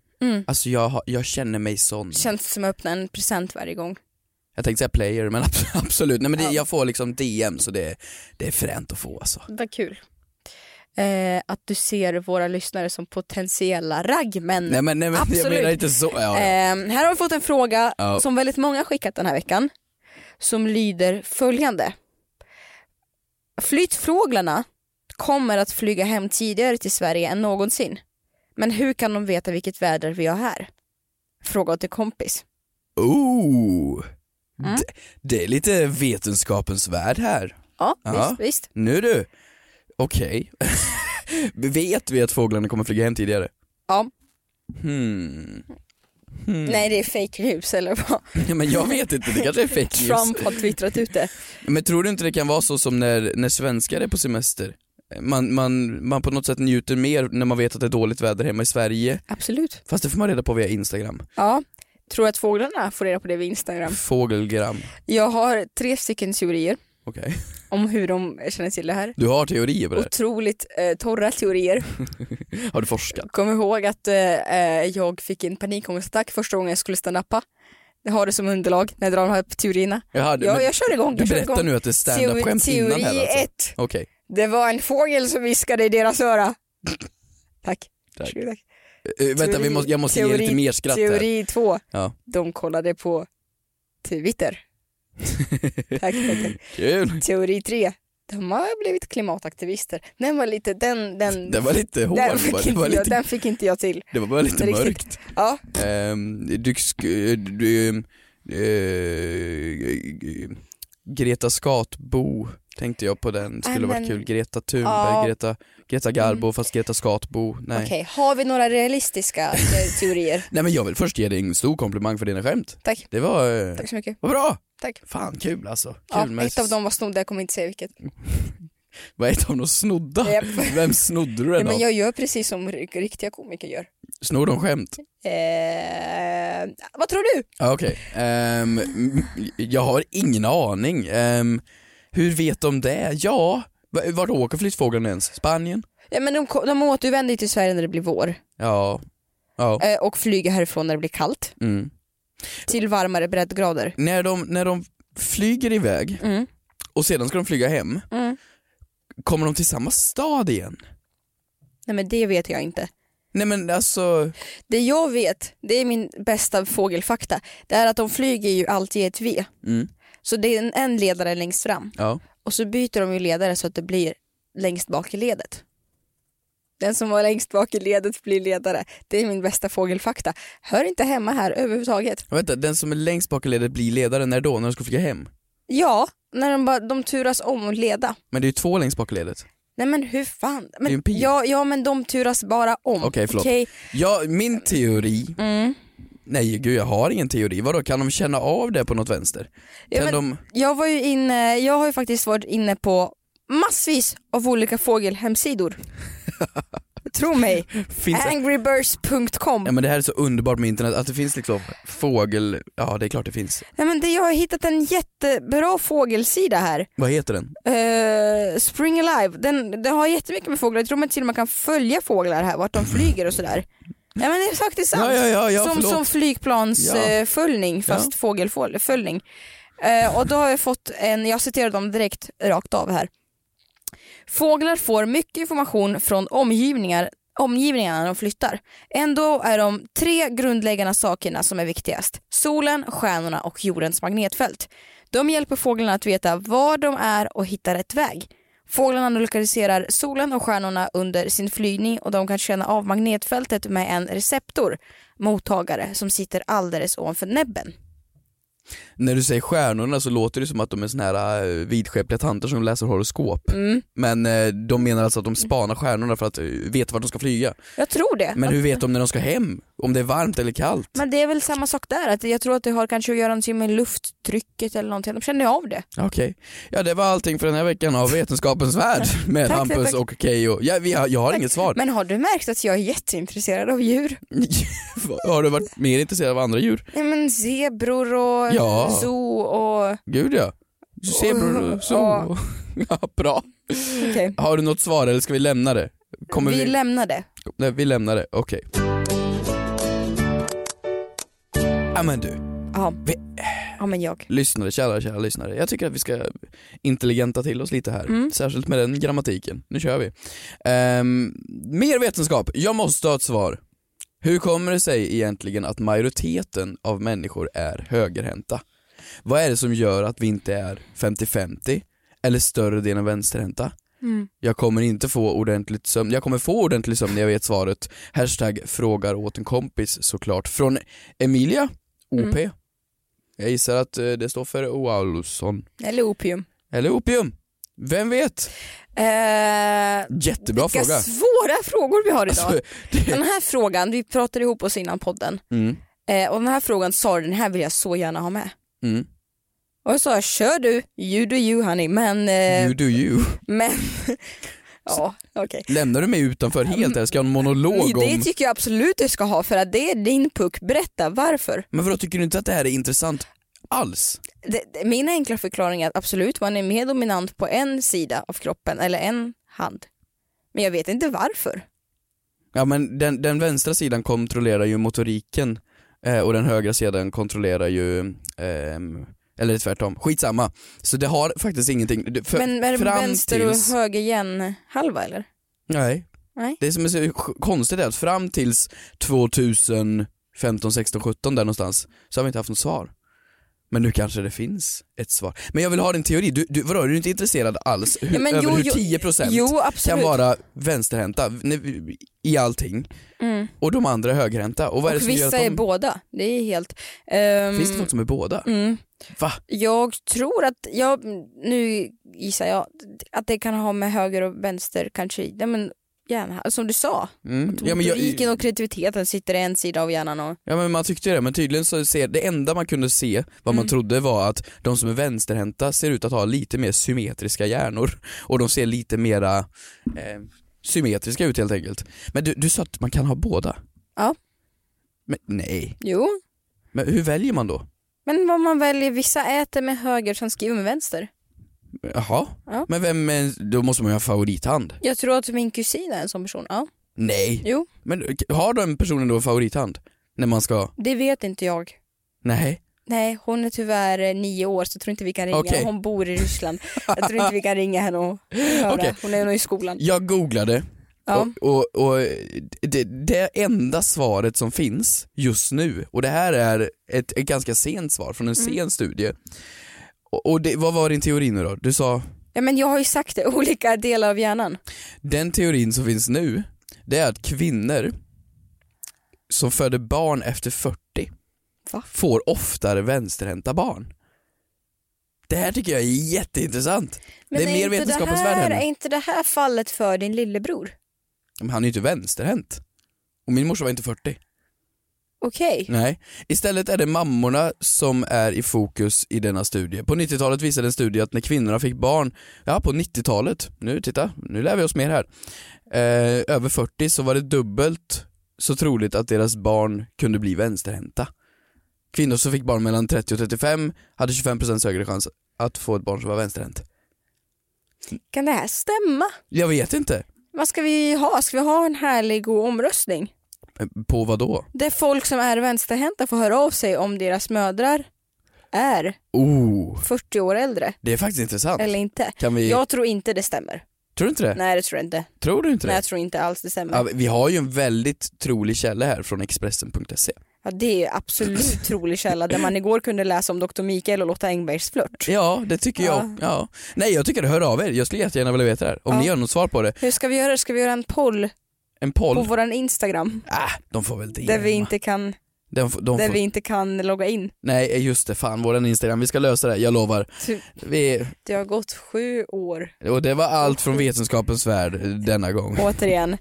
Speaker 6: Alltså jag, har- jag känner mig sån.
Speaker 5: Känns som att öppna en present varje gång.
Speaker 6: Jag tänkte säga player men abs- absolut, nej men det, jag får liksom DMs och det, det är fränt att få alltså.
Speaker 5: Vad kul. Eh, att du ser våra lyssnare som potentiella raggmän.
Speaker 6: Nej men, nej, men jag
Speaker 5: Mm. Absolut.
Speaker 6: menar inte så. Ja, ja.
Speaker 5: Eh, här har vi fått en fråga
Speaker 6: Ja.
Speaker 5: som väldigt många har skickat den här veckan. Som lyder följande. Flyttfåglarna kommer att flyga hem tidigare till Sverige än någonsin. Men hur kan de veta vilket väder vi har här? Fråga till kompis.
Speaker 6: Ooh.
Speaker 5: Mm.
Speaker 6: Det, det är lite vetenskapens värld här.
Speaker 5: Ja,
Speaker 6: Ja.
Speaker 5: visst, visst.
Speaker 6: Nu du, okej. Vet vi att fåglarna kommer flyga hem tidigare?
Speaker 5: Ja.
Speaker 6: Hmm. Mm.
Speaker 5: Nej, det är fake news eller vad?
Speaker 6: Ja, men jag vet inte, det kanske är fake news.
Speaker 5: Trump har twittrat ut det.
Speaker 6: Men tror du inte det kan vara så som när, när svenskar är på semester? Man, man, man på något sätt njuter mer när man vet att det är dåligt väder hemma i Sverige.
Speaker 5: Absolut.
Speaker 6: Fast det får man reda på via Instagram.
Speaker 5: Ja. Tror att fåglarna får reda på det via Instagram?
Speaker 6: Fågelgram.
Speaker 5: Jag har tre stycken teorier
Speaker 6: Okej.
Speaker 5: om hur de känner till det här.
Speaker 6: Du har teorier på det här.
Speaker 5: Otroligt eh, torra teorier.
Speaker 6: Har du forskat?
Speaker 5: Kom ihåg att eh, eh, jag fick en panikångestattack första gången jag skulle stand-upa. Jag har det som underlag när jag drar de här teorierna.
Speaker 6: Jaha, du-
Speaker 5: Ja,
Speaker 6: men
Speaker 5: jag kör igång.
Speaker 6: Du
Speaker 5: jag kör
Speaker 6: berättar
Speaker 5: igång.
Speaker 6: nu att det är standup-skämt
Speaker 5: Teori-
Speaker 6: innan här
Speaker 5: Teori
Speaker 6: alltså?
Speaker 5: 1.
Speaker 6: Okej.
Speaker 5: Det var en fågel som viskade i deras öra. Tack.
Speaker 6: Tack.
Speaker 5: Varsågod,
Speaker 6: Eh, vänta, vi
Speaker 5: Teori-
Speaker 6: måste, jag måste ge
Speaker 5: teori-
Speaker 6: lite mer skratt här.
Speaker 5: Teori 2.
Speaker 6: Ja.
Speaker 5: De kollade på Twitter. tack, tack, tack.
Speaker 6: Kul!
Speaker 5: Teori 3. De har blivit klimataktivister. Den var lite, den, den,
Speaker 6: Det var lite hårt,
Speaker 5: den,
Speaker 6: det var,
Speaker 5: fick,
Speaker 6: det
Speaker 5: inte
Speaker 6: var
Speaker 5: jag,
Speaker 6: lite,
Speaker 5: den fick inte jag till.
Speaker 6: det var bara lite
Speaker 5: riktigt.
Speaker 6: mörkt.
Speaker 5: Ja,
Speaker 6: Ehm, du, sk- du, ehm, eh, Greta Skatbo tänkte jag på den, skulle
Speaker 5: Nej, Äh, men-
Speaker 6: varit kul. Greta Thunberg,
Speaker 5: Ja. Mm.
Speaker 6: Greta, Greta Garbo fast Greta Skatbo. Nej.
Speaker 5: okej. Har vi några realistiska eh, teorier?
Speaker 6: Nej men jag vill först ge dig en stor komplimang för dina skämt.
Speaker 5: Tack.
Speaker 6: Det var, eh,
Speaker 5: Tack så mycket.
Speaker 6: vad bra!
Speaker 5: Tack.
Speaker 6: Fan kul alltså. Kul
Speaker 5: Ja,
Speaker 6: med
Speaker 5: ett av dem var snodd, jag kommer inte säga vilket.
Speaker 6: Vad är ett av dem snodda?
Speaker 5: Japp.
Speaker 6: Vem snodde du
Speaker 5: Ja,
Speaker 6: den
Speaker 5: men
Speaker 6: av?
Speaker 5: jag gör precis som r- riktiga komiker gör.
Speaker 6: Snor de skämt?
Speaker 5: Eh, vad tror du?
Speaker 6: Ja, Okej, Ehm, m- jag har ingen aning. Ehm, hur vet de det? Ja, va- vart åker flyttfåglarna ens? Spanien?
Speaker 5: Ja, men de, ko- de återvänder ju till Sverige när det blir vår
Speaker 6: Ja. ja.
Speaker 5: eh, och flyger härifrån när det blir kallt
Speaker 6: Mm.
Speaker 5: till varmare breddgrader.
Speaker 6: När, de, när de flyger iväg
Speaker 5: Mm.
Speaker 6: och sedan ska de flyga hem,
Speaker 5: Mm.
Speaker 6: kommer de till samma stad igen?
Speaker 5: Nej men det vet jag inte.
Speaker 6: Nej men alltså,
Speaker 5: Det jag vet, det är min bästa fågelfakta, det är att de flyger ju alltid i ett V.
Speaker 6: Mm.
Speaker 5: Så det är en, en ledare längst fram
Speaker 6: ja.
Speaker 5: och så byter de ju ledare så att det blir längst bak i ledet. Den som var längst bak i ledet blir ledare. Det är min bästa fågelfakta. Hör inte hemma här överhuvudtaget.
Speaker 6: Vänta, den som är längst bak i ledet blir ledare när då? När de ska flyga hem?
Speaker 5: Ja, när de, bara, de turas om att leda.
Speaker 6: Men det är ju två längst bak i ledet.
Speaker 5: Nej men hur fan. Men,
Speaker 6: Det är en pil.
Speaker 5: ja, ja men de turas bara om.
Speaker 6: Okej, förlåt.
Speaker 5: Mm. Okej.
Speaker 6: Ja, min teori. Nej gud jag har ingen teori. Vadå kan de känna av det på något vänster?
Speaker 5: Ja, men,
Speaker 6: Kan de...
Speaker 5: jag, var ju inne, jag har ju faktiskt varit inne på massvis av olika fågelhemsidor. Tro mig.
Speaker 6: Finns det...
Speaker 5: Angrybirds.com.
Speaker 6: Ja men det här är så underbart med internet, att det finns liksom fågel... Ja det är klart det finns.
Speaker 5: Nej, men det, jag har hittat en jättebra fågelsida här.
Speaker 6: Vad heter den?
Speaker 5: Eh, Spring Alive. Den, den har jättemycket med fåglar. Jag tror man till och med kan följa fåglar här, vart de flyger och sådär. Nej men det är faktiskt sant.
Speaker 6: Ja, ja, ja, ja,
Speaker 5: som,
Speaker 6: förlåt.
Speaker 5: som
Speaker 6: Ja.
Speaker 5: flygplansföljning fast fågelföljning. Eh, och då har jag fått en, jag citerar dem direkt rakt av här. Fåglar får mycket information från omgivningar omgivningarna när de flyttar. Ändå är de tre grundläggande sakerna som är viktigast. Solen, stjärnorna och jordens magnetfält. De hjälper fåglarna att veta var de är och hitta rätt väg. Fåglarna lokaliserar solen och stjärnorna under sin flygning och de kan känna av magnetfältet med en receptor, mottagare, som sitter alldeles ovanför näbben.
Speaker 6: När du säger stjärnorna så låter det som att de är såna här eh, vidskepliga tanter som läser horoskop.
Speaker 5: Mm.
Speaker 6: Men eh, de menar alltså att de spanar stjärnorna för att eh, veta vart de ska flyga.
Speaker 5: Jag tror det.
Speaker 6: Men hur vet de när de ska hem? Om det är varmt eller kallt?
Speaker 5: Men det är väl samma sak där, att jag tror att det har kanske att göra någonting med lufttrycket eller någonting. De känner ju av det.
Speaker 6: Okej. Ja det var allting för den här veckan av Vetenskapens Värld med
Speaker 5: Tack,
Speaker 6: Hampus
Speaker 5: tack.
Speaker 6: och Keyyo. Ja, vi har, jag har inget svar.
Speaker 5: Men har du märkt att jag är jätteintresserad av djur?
Speaker 6: har du varit mer intresserad av andra djur?
Speaker 5: Nej men zebror och
Speaker 6: Ja.
Speaker 5: zoo och...
Speaker 6: Gud ja. Zebror och så.
Speaker 5: Ja.
Speaker 6: Ja, bra.
Speaker 5: Okej,
Speaker 6: Har du något svar eller ska vi lämna det? Kommer
Speaker 5: vi lämnar det.
Speaker 6: Nej, vi lämnar det. Okej. Ja men du,
Speaker 5: Ja.
Speaker 6: Vi-
Speaker 5: ja men jag.
Speaker 6: lyssnare, kära, kära lyssnare. Jag tycker att vi ska intelligenta till oss lite här. Särskilt med den grammatiken. Nu kör vi. Ehm, mer vetenskap. Jag måste ha ett svar. Hur kommer det sig egentligen att majoriteten av människor är högerhänta? Vad är det som gör att vi inte är 50-50 eller större delen vänsterhänta? Jag kommer inte få ordentligt sömn. Jag kommer få ordentlig sömn när jag vet svaret. Hashtag frågar åt en kompis såklart. Från Emilia, OP. Jag gissar att eh, det står för Oalusson.
Speaker 5: Eller opium.
Speaker 6: Eller opium. Vem vet?
Speaker 5: Eh,
Speaker 6: Jättebra
Speaker 5: Vilka
Speaker 6: fråga.
Speaker 5: svåra frågor vi har idag.
Speaker 6: Alltså, det,
Speaker 5: Den här frågan, vi pratade ihop oss innan podden
Speaker 6: mm,
Speaker 5: eh, och den här frågan sa du, den här vill jag så gärna ha med.
Speaker 6: mm.
Speaker 5: Och jag sa kör du, you do you honey, men... Eh,
Speaker 6: You do you.
Speaker 5: men ja, okej.
Speaker 6: Lämnar du mig utanför helt eller ska jag ha en monolog
Speaker 5: mm. Det
Speaker 6: om...
Speaker 5: tycker jag absolut du ska ha för att det är din puck, berätta varför.
Speaker 6: Men vadå, tycker du inte att det här är intressant alls?
Speaker 5: Det, det, min enkla förklaring är att absolut man är mer dominant på en sida av kroppen eller en hand. Men jag vet inte varför.
Speaker 6: Ja men den, den vänstra sidan kontrollerar ju motoriken eh, och den högra sidan kontrollerar ju, ehm, eller tvärtom, skitsamma. Så det har faktiskt ingenting. Det- För,
Speaker 5: men är det
Speaker 6: fram
Speaker 5: vänster
Speaker 6: tills-
Speaker 5: och höger igen halva eller?
Speaker 6: Nej.
Speaker 5: Nej.
Speaker 6: Det som är så konstigt är att fram tills 2015, 16, 17 där någonstans så har vi inte haft något svar. Men nu kanske det finns ett svar. Men jag vill ha din teori, du, du, vadå, är du inte intresserad alls hur,
Speaker 5: Ja, men
Speaker 6: över
Speaker 5: jo,
Speaker 6: hur
Speaker 5: jo,
Speaker 6: 10%
Speaker 5: Jo
Speaker 6: kan
Speaker 5: absolut.
Speaker 6: vara vänsterhänta när- i allting
Speaker 5: Mm.
Speaker 6: och de andra är högerhänta? Och vad är det
Speaker 5: Och
Speaker 6: som gör att
Speaker 5: vissa
Speaker 6: de...
Speaker 5: är båda, det är helt... ehm,
Speaker 6: Finns det folk som är båda?
Speaker 5: mm,
Speaker 6: Va?
Speaker 5: Jag tror att, jag, nu gissar jag, att det kan ha med höger och vänster kanske, ja, men gärna, som du sa,
Speaker 6: Mm. Ja, men, jag,
Speaker 5: motoriken och kreativiteten sitter i en sida av hjärnan och
Speaker 6: ja men man tyckte ju det, men tydligen så ser det enda man kunde se, vad
Speaker 5: Mm.
Speaker 6: man trodde var att de som är vänsterhänta ser ut att ha lite mer symmetriska hjärnor och de ser lite mera eh, symmetriska ut helt enkelt. Men du, du sa att man kan ha båda?
Speaker 5: Ja.
Speaker 6: Men nej,
Speaker 5: jo,
Speaker 6: men hur väljer man då?
Speaker 5: men vad man väljer, vissa äter med höger som skriver med vänster.
Speaker 6: Jaha,
Speaker 5: Ja.
Speaker 6: men vem, är- då måste man ju ha favorithand?
Speaker 5: Jag tror att min kusin är en sån person, ja.
Speaker 6: Nej,
Speaker 5: Jo,
Speaker 6: men har den personen då en favorithand? När man ska,
Speaker 5: det vet inte jag.
Speaker 6: nej.
Speaker 5: Nej, hon är tyvärr eh, nio år så jag tror inte vi kan ringa.
Speaker 6: Okej.
Speaker 5: Hon bor i Ryssland. Jag tror inte vi kan ringa henne och höra.
Speaker 6: Okej.
Speaker 5: Hon är nog i skolan.
Speaker 6: Jag googlade
Speaker 5: Ja.
Speaker 6: och, och, och det, det enda svaret som finns just nu, och det här är ett, ett ganska sent svar från en
Speaker 5: Mm.
Speaker 6: sen studie. Och, och det, vad var din teori nu då? Du sa,
Speaker 5: Ja, men jag har ju sagt det, olika delar av hjärnan.
Speaker 6: den teorin som finns nu, det är att kvinnor som föder barn efter 40
Speaker 5: Va?
Speaker 6: får oftare vänsterhänta barn. Det här tycker jag är jätteintressant. det är, mer
Speaker 5: inte
Speaker 6: vetenskap
Speaker 5: det
Speaker 6: än svärd
Speaker 5: här,
Speaker 6: här
Speaker 5: Är
Speaker 6: nu.
Speaker 5: inte det här fallet för din lillebror?
Speaker 6: Men han är ju inte vänsterhänt. Och min morsa var inte 40.
Speaker 5: Okej.
Speaker 6: Nej, istället är det mammorna som är i fokus i denna studie. På 90-talet visade en studie att när kvinnorna fick barn, ja på 90-talet, nu titta, nu lär vi oss mer här, eh, över 40 så var det dubbelt så troligt att deras barn kunde bli vänsterhänta. Kvinnor som fick barn mellan 30 och 35 hade 25% högre chans att få ett barn som var vänsterhänt.
Speaker 5: Kan det här stämma?
Speaker 6: Jag vet inte.
Speaker 5: Vad ska vi ha? Ska vi ha en härlig god omröstning?
Speaker 6: Eh, På vad då?
Speaker 5: Där folk som är vänsterhänta får höra av sig om deras mödrar är
Speaker 6: Oh,
Speaker 5: 40 år äldre
Speaker 6: det är faktiskt intressant.
Speaker 5: eller inte.
Speaker 6: Kan vi...
Speaker 5: Jag tror inte det stämmer.
Speaker 6: Tror du inte det?
Speaker 5: Nej det tror jag inte.
Speaker 6: Tror du inte det?
Speaker 5: Nej jag tror inte alls det stämmer.
Speaker 6: Ja, vi har ju en väldigt trolig källa här från Expressen.se.
Speaker 5: Ja, det är absolut trolig källa där man igår kunde läsa om Dr. Mikael och Lotta Engbergs flört.
Speaker 6: Ja, det tycker jag. Ja. Nej, jag tycker hör av er. Jag skulle jättegärna vilja veta det här. Om
Speaker 5: Ja.
Speaker 6: ni har något svar på det.
Speaker 5: Hur ska vi göra? Ska vi göra en poll
Speaker 6: En poll.
Speaker 5: på våran Instagram
Speaker 6: Ah, de får väl det.
Speaker 5: där vi inte kan,
Speaker 6: de, får- de
Speaker 5: där
Speaker 6: får...
Speaker 5: vi inte kan logga in?
Speaker 6: Nej, just det. Fan, våran Instagram. Vi ska lösa det. här, Jag lovar.
Speaker 5: Typ,
Speaker 6: Vi...
Speaker 5: Det har gått sju år.
Speaker 6: Och det var allt från Vetenskapens Värld denna gång.
Speaker 5: Återigen.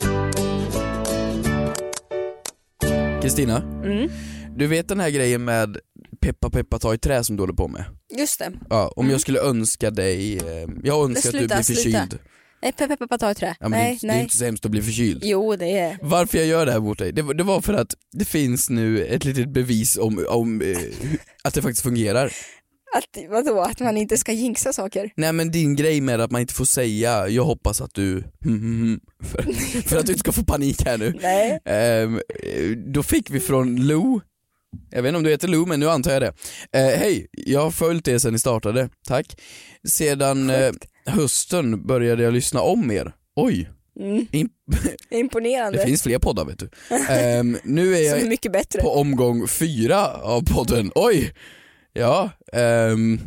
Speaker 6: Kristina,
Speaker 5: Mm.
Speaker 6: du vet den här grejen med peppa peppa ta i trä som du håller på med?
Speaker 5: Just det.
Speaker 6: Ja, om jag skulle önska dig... eh, Jag önskar att du
Speaker 5: sluta,
Speaker 6: blir
Speaker 5: sluta.
Speaker 6: förkyld.
Speaker 5: Nej, peppa peppa ta i trä.
Speaker 6: Ja, men det, är
Speaker 5: nej,
Speaker 6: inte- det är
Speaker 5: nej.
Speaker 6: inte så hemskt att bli förkyld.
Speaker 5: Jo det är
Speaker 6: Varför jag gör det här mot dig, det, var- det var för att det finns nu ett litet bevis om, om eh, att det faktiskt fungerar.
Speaker 5: att, vadå, att man inte ska jinxa saker.
Speaker 6: Nej men din grej med att man inte får säga, jag hoppas att du, hm, för, för att du inte ska få panik här nu.
Speaker 5: Nej.
Speaker 6: Ehm, eh, då fick vi från Lou, jag vet inte om du heter Lou men nu antar jag det. Eh, Hej, jag har följt er sedan ni startade, tack. Sedan eh, hösten började jag lyssna om er. Oj,
Speaker 5: Mm.
Speaker 6: imp-
Speaker 5: Imponerande.
Speaker 6: det finns fler poddar vet du. Ehm, nu är jag
Speaker 5: Som är mycket bättre.
Speaker 6: på omgång fyra av podden. Oj! Ja, ehm,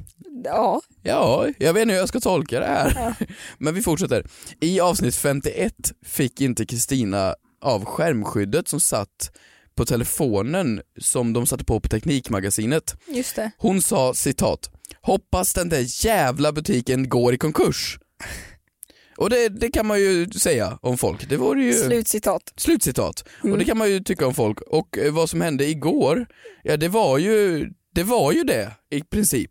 Speaker 5: Ja,
Speaker 6: ja, jag vet inte hur jag ska tolka det här. Men vi fortsätter. I avsnitt 51 fick inte Kristina av skärmskyddet som satt på telefonen som de satte på på Teknikmagasinet.
Speaker 5: just det.
Speaker 6: Hon sa citat, hoppas den där jävla butiken går i konkurs. Och det, det kan man ju säga om folk. Det vore ju...
Speaker 5: Slutcitat.
Speaker 6: Slutcitat.
Speaker 5: Mm.
Speaker 6: Och det kan man ju tycka om folk. Och eh, vad som hände igår, ja det var ju det, var ju det i princip.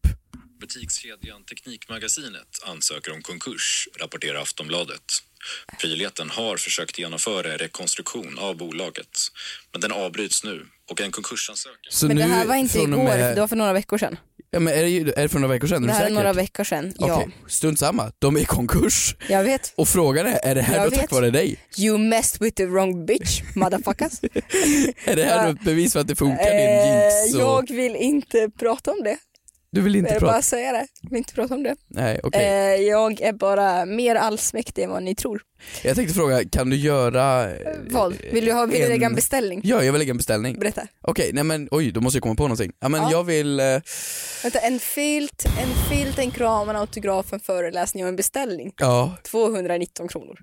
Speaker 7: Butikskedjan Teknikmagasinet ansöker om konkurs, rapporterar Aftonbladet. Frivilligheten har försökt genomföra en rekonstruktion av bolaget, men den avbryts nu och en konkursansökan
Speaker 6: Så
Speaker 5: Men det
Speaker 6: nu
Speaker 5: här var inte
Speaker 6: från och
Speaker 5: igår,
Speaker 6: med,
Speaker 5: det var för några veckor sedan.
Speaker 6: ja, men är, det, ju- är det för några veckor sedan?
Speaker 5: Det
Speaker 6: är du
Speaker 5: här är
Speaker 6: säker?
Speaker 5: några veckor sedan, ja.
Speaker 6: Okej, Strunt samma, de är i konkurs.
Speaker 5: Jag vet.
Speaker 6: Och frågan är, är det här
Speaker 5: Jag
Speaker 6: då
Speaker 5: vet.
Speaker 6: tack vare dig?
Speaker 5: You messed with the wrong bitch, motherfuckers.
Speaker 6: Är det här
Speaker 5: Ja.
Speaker 6: då ett bevis för att det funkar din
Speaker 5: eh,
Speaker 6: jinx? Och...
Speaker 5: jag vill inte prata om det.
Speaker 6: Du vill inte
Speaker 5: Jag vill
Speaker 6: prata?
Speaker 5: bara säga det. Jag vill inte prata om det.
Speaker 6: Nej, okej.
Speaker 5: Eh, jag är bara mer allsmäktig än vad ni tror.
Speaker 6: Jag tänkte fråga, kan du göra... eh,
Speaker 5: Vad? Vill du, ha, vill du
Speaker 6: en-
Speaker 5: lägga en beställning?
Speaker 6: Ja, jag vill lägga en beställning.
Speaker 5: Berätta.
Speaker 6: Okej, nej men oj, då måste jag komma på någonting. Ja men
Speaker 5: Ja.
Speaker 6: jag vill... eh,
Speaker 5: Vänta, en filt, en filt, en kram, en autograf, en föreläsning och en beställning.
Speaker 6: Ja,
Speaker 5: 219 kronor.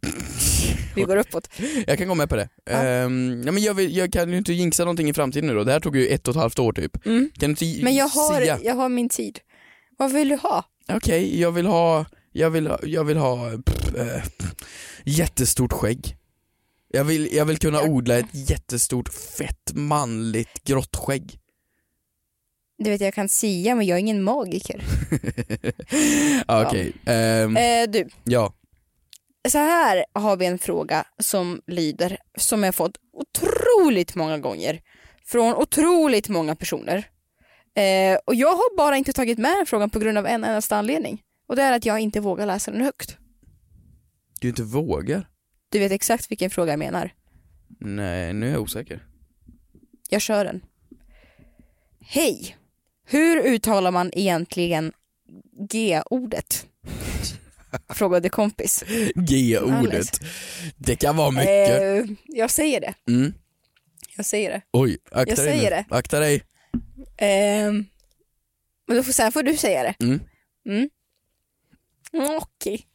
Speaker 5: Vi går uppåt.
Speaker 6: Jag kan gå med på det. Ehm, nej, men jag, vill, jag kan ju inte jinxa någonting i framtiden nu då. Det här tog ju ett och ett halvt år typ.
Speaker 5: Mm.
Speaker 6: Kan du inte
Speaker 5: Men jag har,
Speaker 6: sia?
Speaker 5: jag har min tid. Vad vill du ha?
Speaker 6: Okej, jag vill ha, jag vill ha, jag vill ha pff, eh, jättestort skägg. Jag vill, jag vill kunna odla ett jättestort fett manligt grått skägg.
Speaker 5: Du vet jag kan sia men jag är ingen magiker.
Speaker 6: Ja, Okej, Ehm,
Speaker 5: Eh, du,
Speaker 6: ja.
Speaker 5: så här har vi en fråga som lyder, som jag fått otroligt många gånger från otroligt många personer. Eh, och jag har bara inte tagit med den frågan på grund av en endast anledning. Och det är att jag inte vågar läsa den högt.
Speaker 6: Du inte vågar?
Speaker 5: Du vet exakt vilken fråga jag menar.
Speaker 6: Nej, nu är jag osäker.
Speaker 5: Jag kör den. Hej! Hur uttalar man egentligen G-ordet? Frågade kompis.
Speaker 6: G-ordet. Det kan vara mycket.
Speaker 5: Eh, jag säger det.
Speaker 6: Mm.
Speaker 5: Jag säger det.
Speaker 6: Oj, akta
Speaker 5: Eh, jag
Speaker 6: dig
Speaker 5: säger
Speaker 6: nu.
Speaker 5: det.
Speaker 6: Akta dig.
Speaker 5: Eh, men då får, sen får du säga det.
Speaker 6: Mm.
Speaker 5: Mm. Mm, Okej.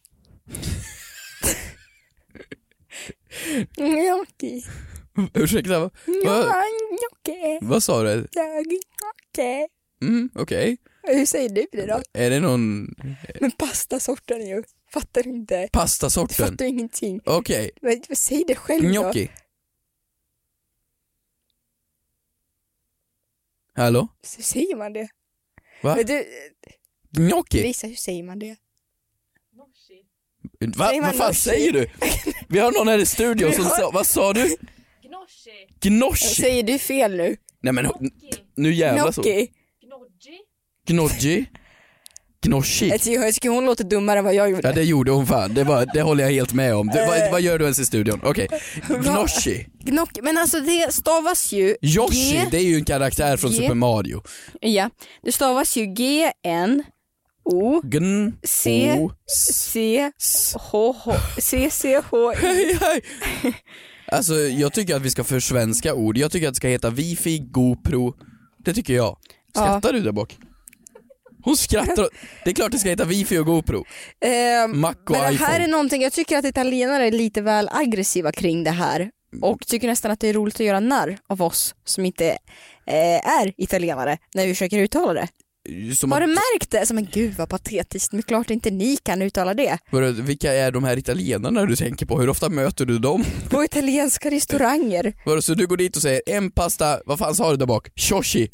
Speaker 5: Mm, Okej.
Speaker 6: Ursäkta, vad,
Speaker 5: Ja, Okej.
Speaker 6: vad sa du?
Speaker 5: Okej.
Speaker 6: Mm, okej.
Speaker 5: Hur säger du det då?
Speaker 6: Är det någon
Speaker 5: Men pastasorten ju. Fattar du inte? Du
Speaker 6: pastasorten?
Speaker 5: fattar ingenting.
Speaker 6: Okej,
Speaker 5: Men, men säg det själv då.
Speaker 6: gnocchi. Hallå?
Speaker 5: Hur säger man det?
Speaker 6: Va?
Speaker 5: Men du,
Speaker 6: Gnocchi?
Speaker 5: Lisa, hur säger man det?
Speaker 6: Va,
Speaker 5: säger man
Speaker 6: vad fan
Speaker 5: gnocchi?
Speaker 6: säger du? Vi har någon här i studion som sa, vad sa du? Gnocchi.
Speaker 5: Säger du fel nu?
Speaker 6: Nej men nu jävlar så.
Speaker 5: Gnocchi.
Speaker 6: Gnocchi. Gnocchi.
Speaker 5: Jag tycker- jag tycker hon låter dummare än vad jag
Speaker 6: Ja
Speaker 5: gjorde.
Speaker 6: det gjorde hon fan, det, var, det håller jag helt med om. Det,
Speaker 5: Eh.
Speaker 6: vad, vad gör du ens i studion? Okej, Gnocchi.
Speaker 5: Gnocchi, men alltså det stavas ju...
Speaker 6: Yoshi,
Speaker 5: G-
Speaker 6: det är ju en karaktär från
Speaker 5: G-
Speaker 6: Super Mario.
Speaker 5: Ja, det stavas ju G-N-O
Speaker 6: Gn,
Speaker 5: C-
Speaker 6: O, s,
Speaker 5: C
Speaker 6: s.
Speaker 5: H H C C H I.
Speaker 6: Hej, hej. Alltså jag tycker att vi ska försvenska ord. Jag tycker att det ska heta wifi, GoPro. Det tycker jag. Skrattar du där bak? Hon skrattar. Det är klart det ska heta wifi och GoPro.
Speaker 5: Ehm,
Speaker 6: Mac och
Speaker 5: Men det här är
Speaker 6: iPhone.
Speaker 5: någonting, jag tycker att italienare är lite väl aggressiva kring det här
Speaker 6: Mm.
Speaker 5: och tycker nästan att det är roligt att göra narr av oss som inte eh, är italienare när vi försöker uttala det.
Speaker 6: Eh, Som
Speaker 5: Har
Speaker 6: att,
Speaker 5: du märkt det? Som en gud vad patetiskt, men klart inte ni kan uttala det.
Speaker 6: vadå, vilka är de här italienarna du tänker på? Hur ofta möter du dem?
Speaker 5: På italienska restauranger,
Speaker 6: Vadå, Så du går dit och säger en pasta, vad fan sa du där bak? Shoshi,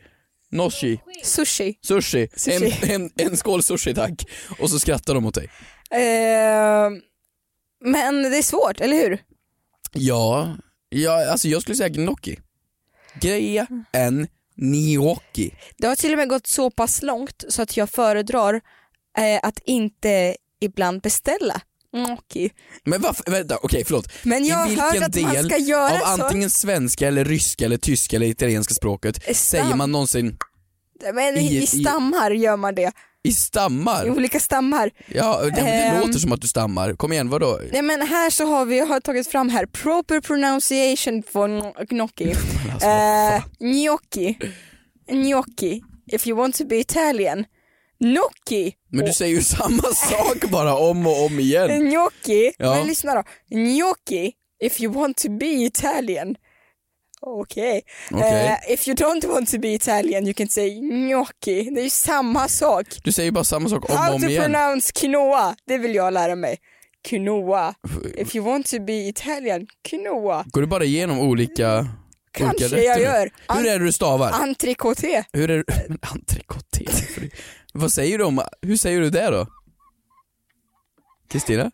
Speaker 6: noshi,
Speaker 5: sushi.
Speaker 6: sushi,
Speaker 5: Sushi.
Speaker 6: En, en, en skål sushi tack. Och så skrattar de åt dig.
Speaker 5: Ehm, men det är svårt, eller hur?
Speaker 6: Ja, ja alltså jag skulle säga gnocchi. G-N-Gnocchi.
Speaker 5: Det har till och med gått så pass långt så att jag föredrar eh, att inte ibland beställa Mm, gnocchi.
Speaker 6: Men varför, vänta, okej förlåt.
Speaker 5: Men jag har
Speaker 6: I
Speaker 5: hört
Speaker 6: vilken
Speaker 5: att man
Speaker 6: del
Speaker 5: ska göra
Speaker 6: av
Speaker 5: så.
Speaker 6: antingen svenska eller ryska eller tyska eller italienska
Speaker 5: Eh, Stam.
Speaker 6: språket säger man någonsin
Speaker 5: Men i,
Speaker 6: I-
Speaker 5: i stammar gör man det,
Speaker 6: i
Speaker 5: i
Speaker 6: stammar?
Speaker 5: olika stammar.
Speaker 6: Ja, det, det
Speaker 5: Ehm.
Speaker 6: låter som att du stammar. Kom igen, vadå?
Speaker 5: Nej men här så har vi, jag har tagit fram här, proper pronunciation för gn- gnocchi.
Speaker 6: Alltså,
Speaker 5: Eh, gnocchi. Gnocchi. If you want to be Italian. Gnocchi.
Speaker 6: Men du säger ju samma sak bara om och om igen.
Speaker 5: Gnocchi.
Speaker 6: Ja.
Speaker 5: Men lyssna då. Gnocchi. If you want to be Italian. Okej.
Speaker 6: Okej.
Speaker 5: Eh, if you don't want to be Italian you can say gnocchi. Det är ju samma sak.
Speaker 6: Du säger ju bara samma sak om
Speaker 5: How
Speaker 6: och om
Speaker 5: to
Speaker 6: igen.
Speaker 5: pronounce quinoa. Det vill jag lära mig. Quinoa. If you want to be Italian. Quinoa.
Speaker 6: Går du bara igenom olika
Speaker 5: Kanske
Speaker 6: olika rätter
Speaker 5: jag
Speaker 6: nu?
Speaker 5: gör.
Speaker 6: Hur är det du stavar?
Speaker 5: Entrecote.
Speaker 6: Hur är men entrecote? för- Vad säger du om, hur säger du det då? Kristina?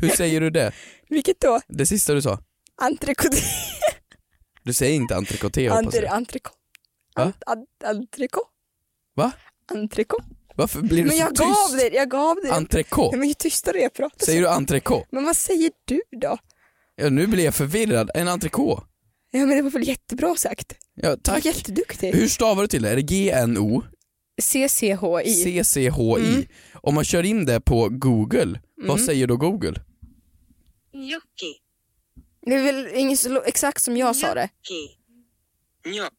Speaker 6: Hur säger du det?
Speaker 5: Vilket då?
Speaker 6: Det sista du sa?
Speaker 5: Entrecote.
Speaker 6: Du säger inte entrecote hoppas
Speaker 5: Antri,
Speaker 6: jag.
Speaker 5: antrikå.
Speaker 6: Va?
Speaker 5: Antrikå.
Speaker 6: Va?
Speaker 5: Antrikå.
Speaker 6: Varför blir du
Speaker 5: Men
Speaker 6: så
Speaker 5: jag
Speaker 6: tyst?
Speaker 5: gav dig, jag gav dig.
Speaker 6: Entrecote?
Speaker 5: Nej, men ju tystare jag pratar.
Speaker 6: Säger du entrecote?
Speaker 5: Men vad säger du då?
Speaker 6: Ja, nu blir jag förvirrad. En entrecote?
Speaker 5: Ja men det var väl jättebra sagt.
Speaker 6: Ja,
Speaker 5: Du var
Speaker 6: tack.
Speaker 5: jätteduktig.
Speaker 6: Hur stavar du till det? Är det G-N-O?
Speaker 5: CCHI.
Speaker 6: CCHI.
Speaker 5: Mm.
Speaker 6: Om man kör in det på Google, vad säger då Google?
Speaker 4: Gnocchi.
Speaker 5: Det är väl ingen så lo- exakt som jag sa det.
Speaker 7: Gnoc-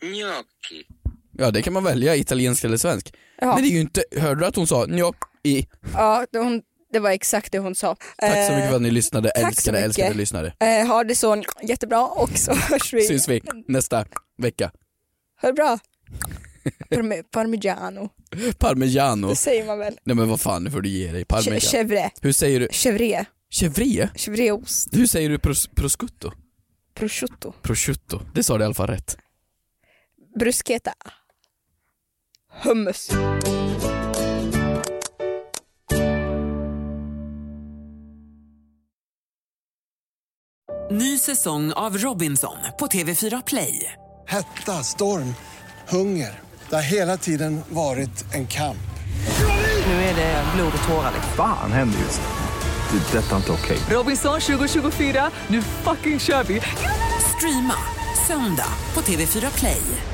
Speaker 7: Gnocchi.
Speaker 6: Ja, det kan man välja, italiensk eller svensk.
Speaker 5: Ja.
Speaker 6: Men det är ju inte, hörde du att hon sa gnocchi?
Speaker 5: Ja, det, hon, det var exakt det hon sa.
Speaker 6: Tack så mycket för
Speaker 5: Eh,
Speaker 6: att ni lyssnade,
Speaker 5: så
Speaker 6: älskade,
Speaker 5: mycket.
Speaker 6: älskade lyssnare.
Speaker 5: eh, ha det så jättebra och så hörs vi.
Speaker 6: Syns vi nästa vecka.
Speaker 5: Ha det bra. Parme- Parmigiano,
Speaker 6: Parmigiano.
Speaker 5: det säger man väl?
Speaker 6: Nej men vad fan, nu får du ge dig.
Speaker 5: Che-
Speaker 6: Parmigiano.
Speaker 5: Chevre,
Speaker 6: Hur säger du?
Speaker 5: chevre,
Speaker 6: Chevrie?
Speaker 5: chevreost,
Speaker 6: Hur säger du pros prosciutto?
Speaker 5: prosciutto,
Speaker 6: Prosciutto. Det sa du i alla fall rätt.
Speaker 5: bruschetta, hummus.
Speaker 1: Ny säsong av Robinson på TV4 Play.
Speaker 2: Hetta, storm, hunger. Det har hela tiden varit en kamp.
Speaker 1: Nu är det blod och tårar.
Speaker 3: Fan händer just nu. Det. är Detta är inte okej.
Speaker 1: Robinson 2024, nu fucking kör vi! Streama söndag på TV4 Play.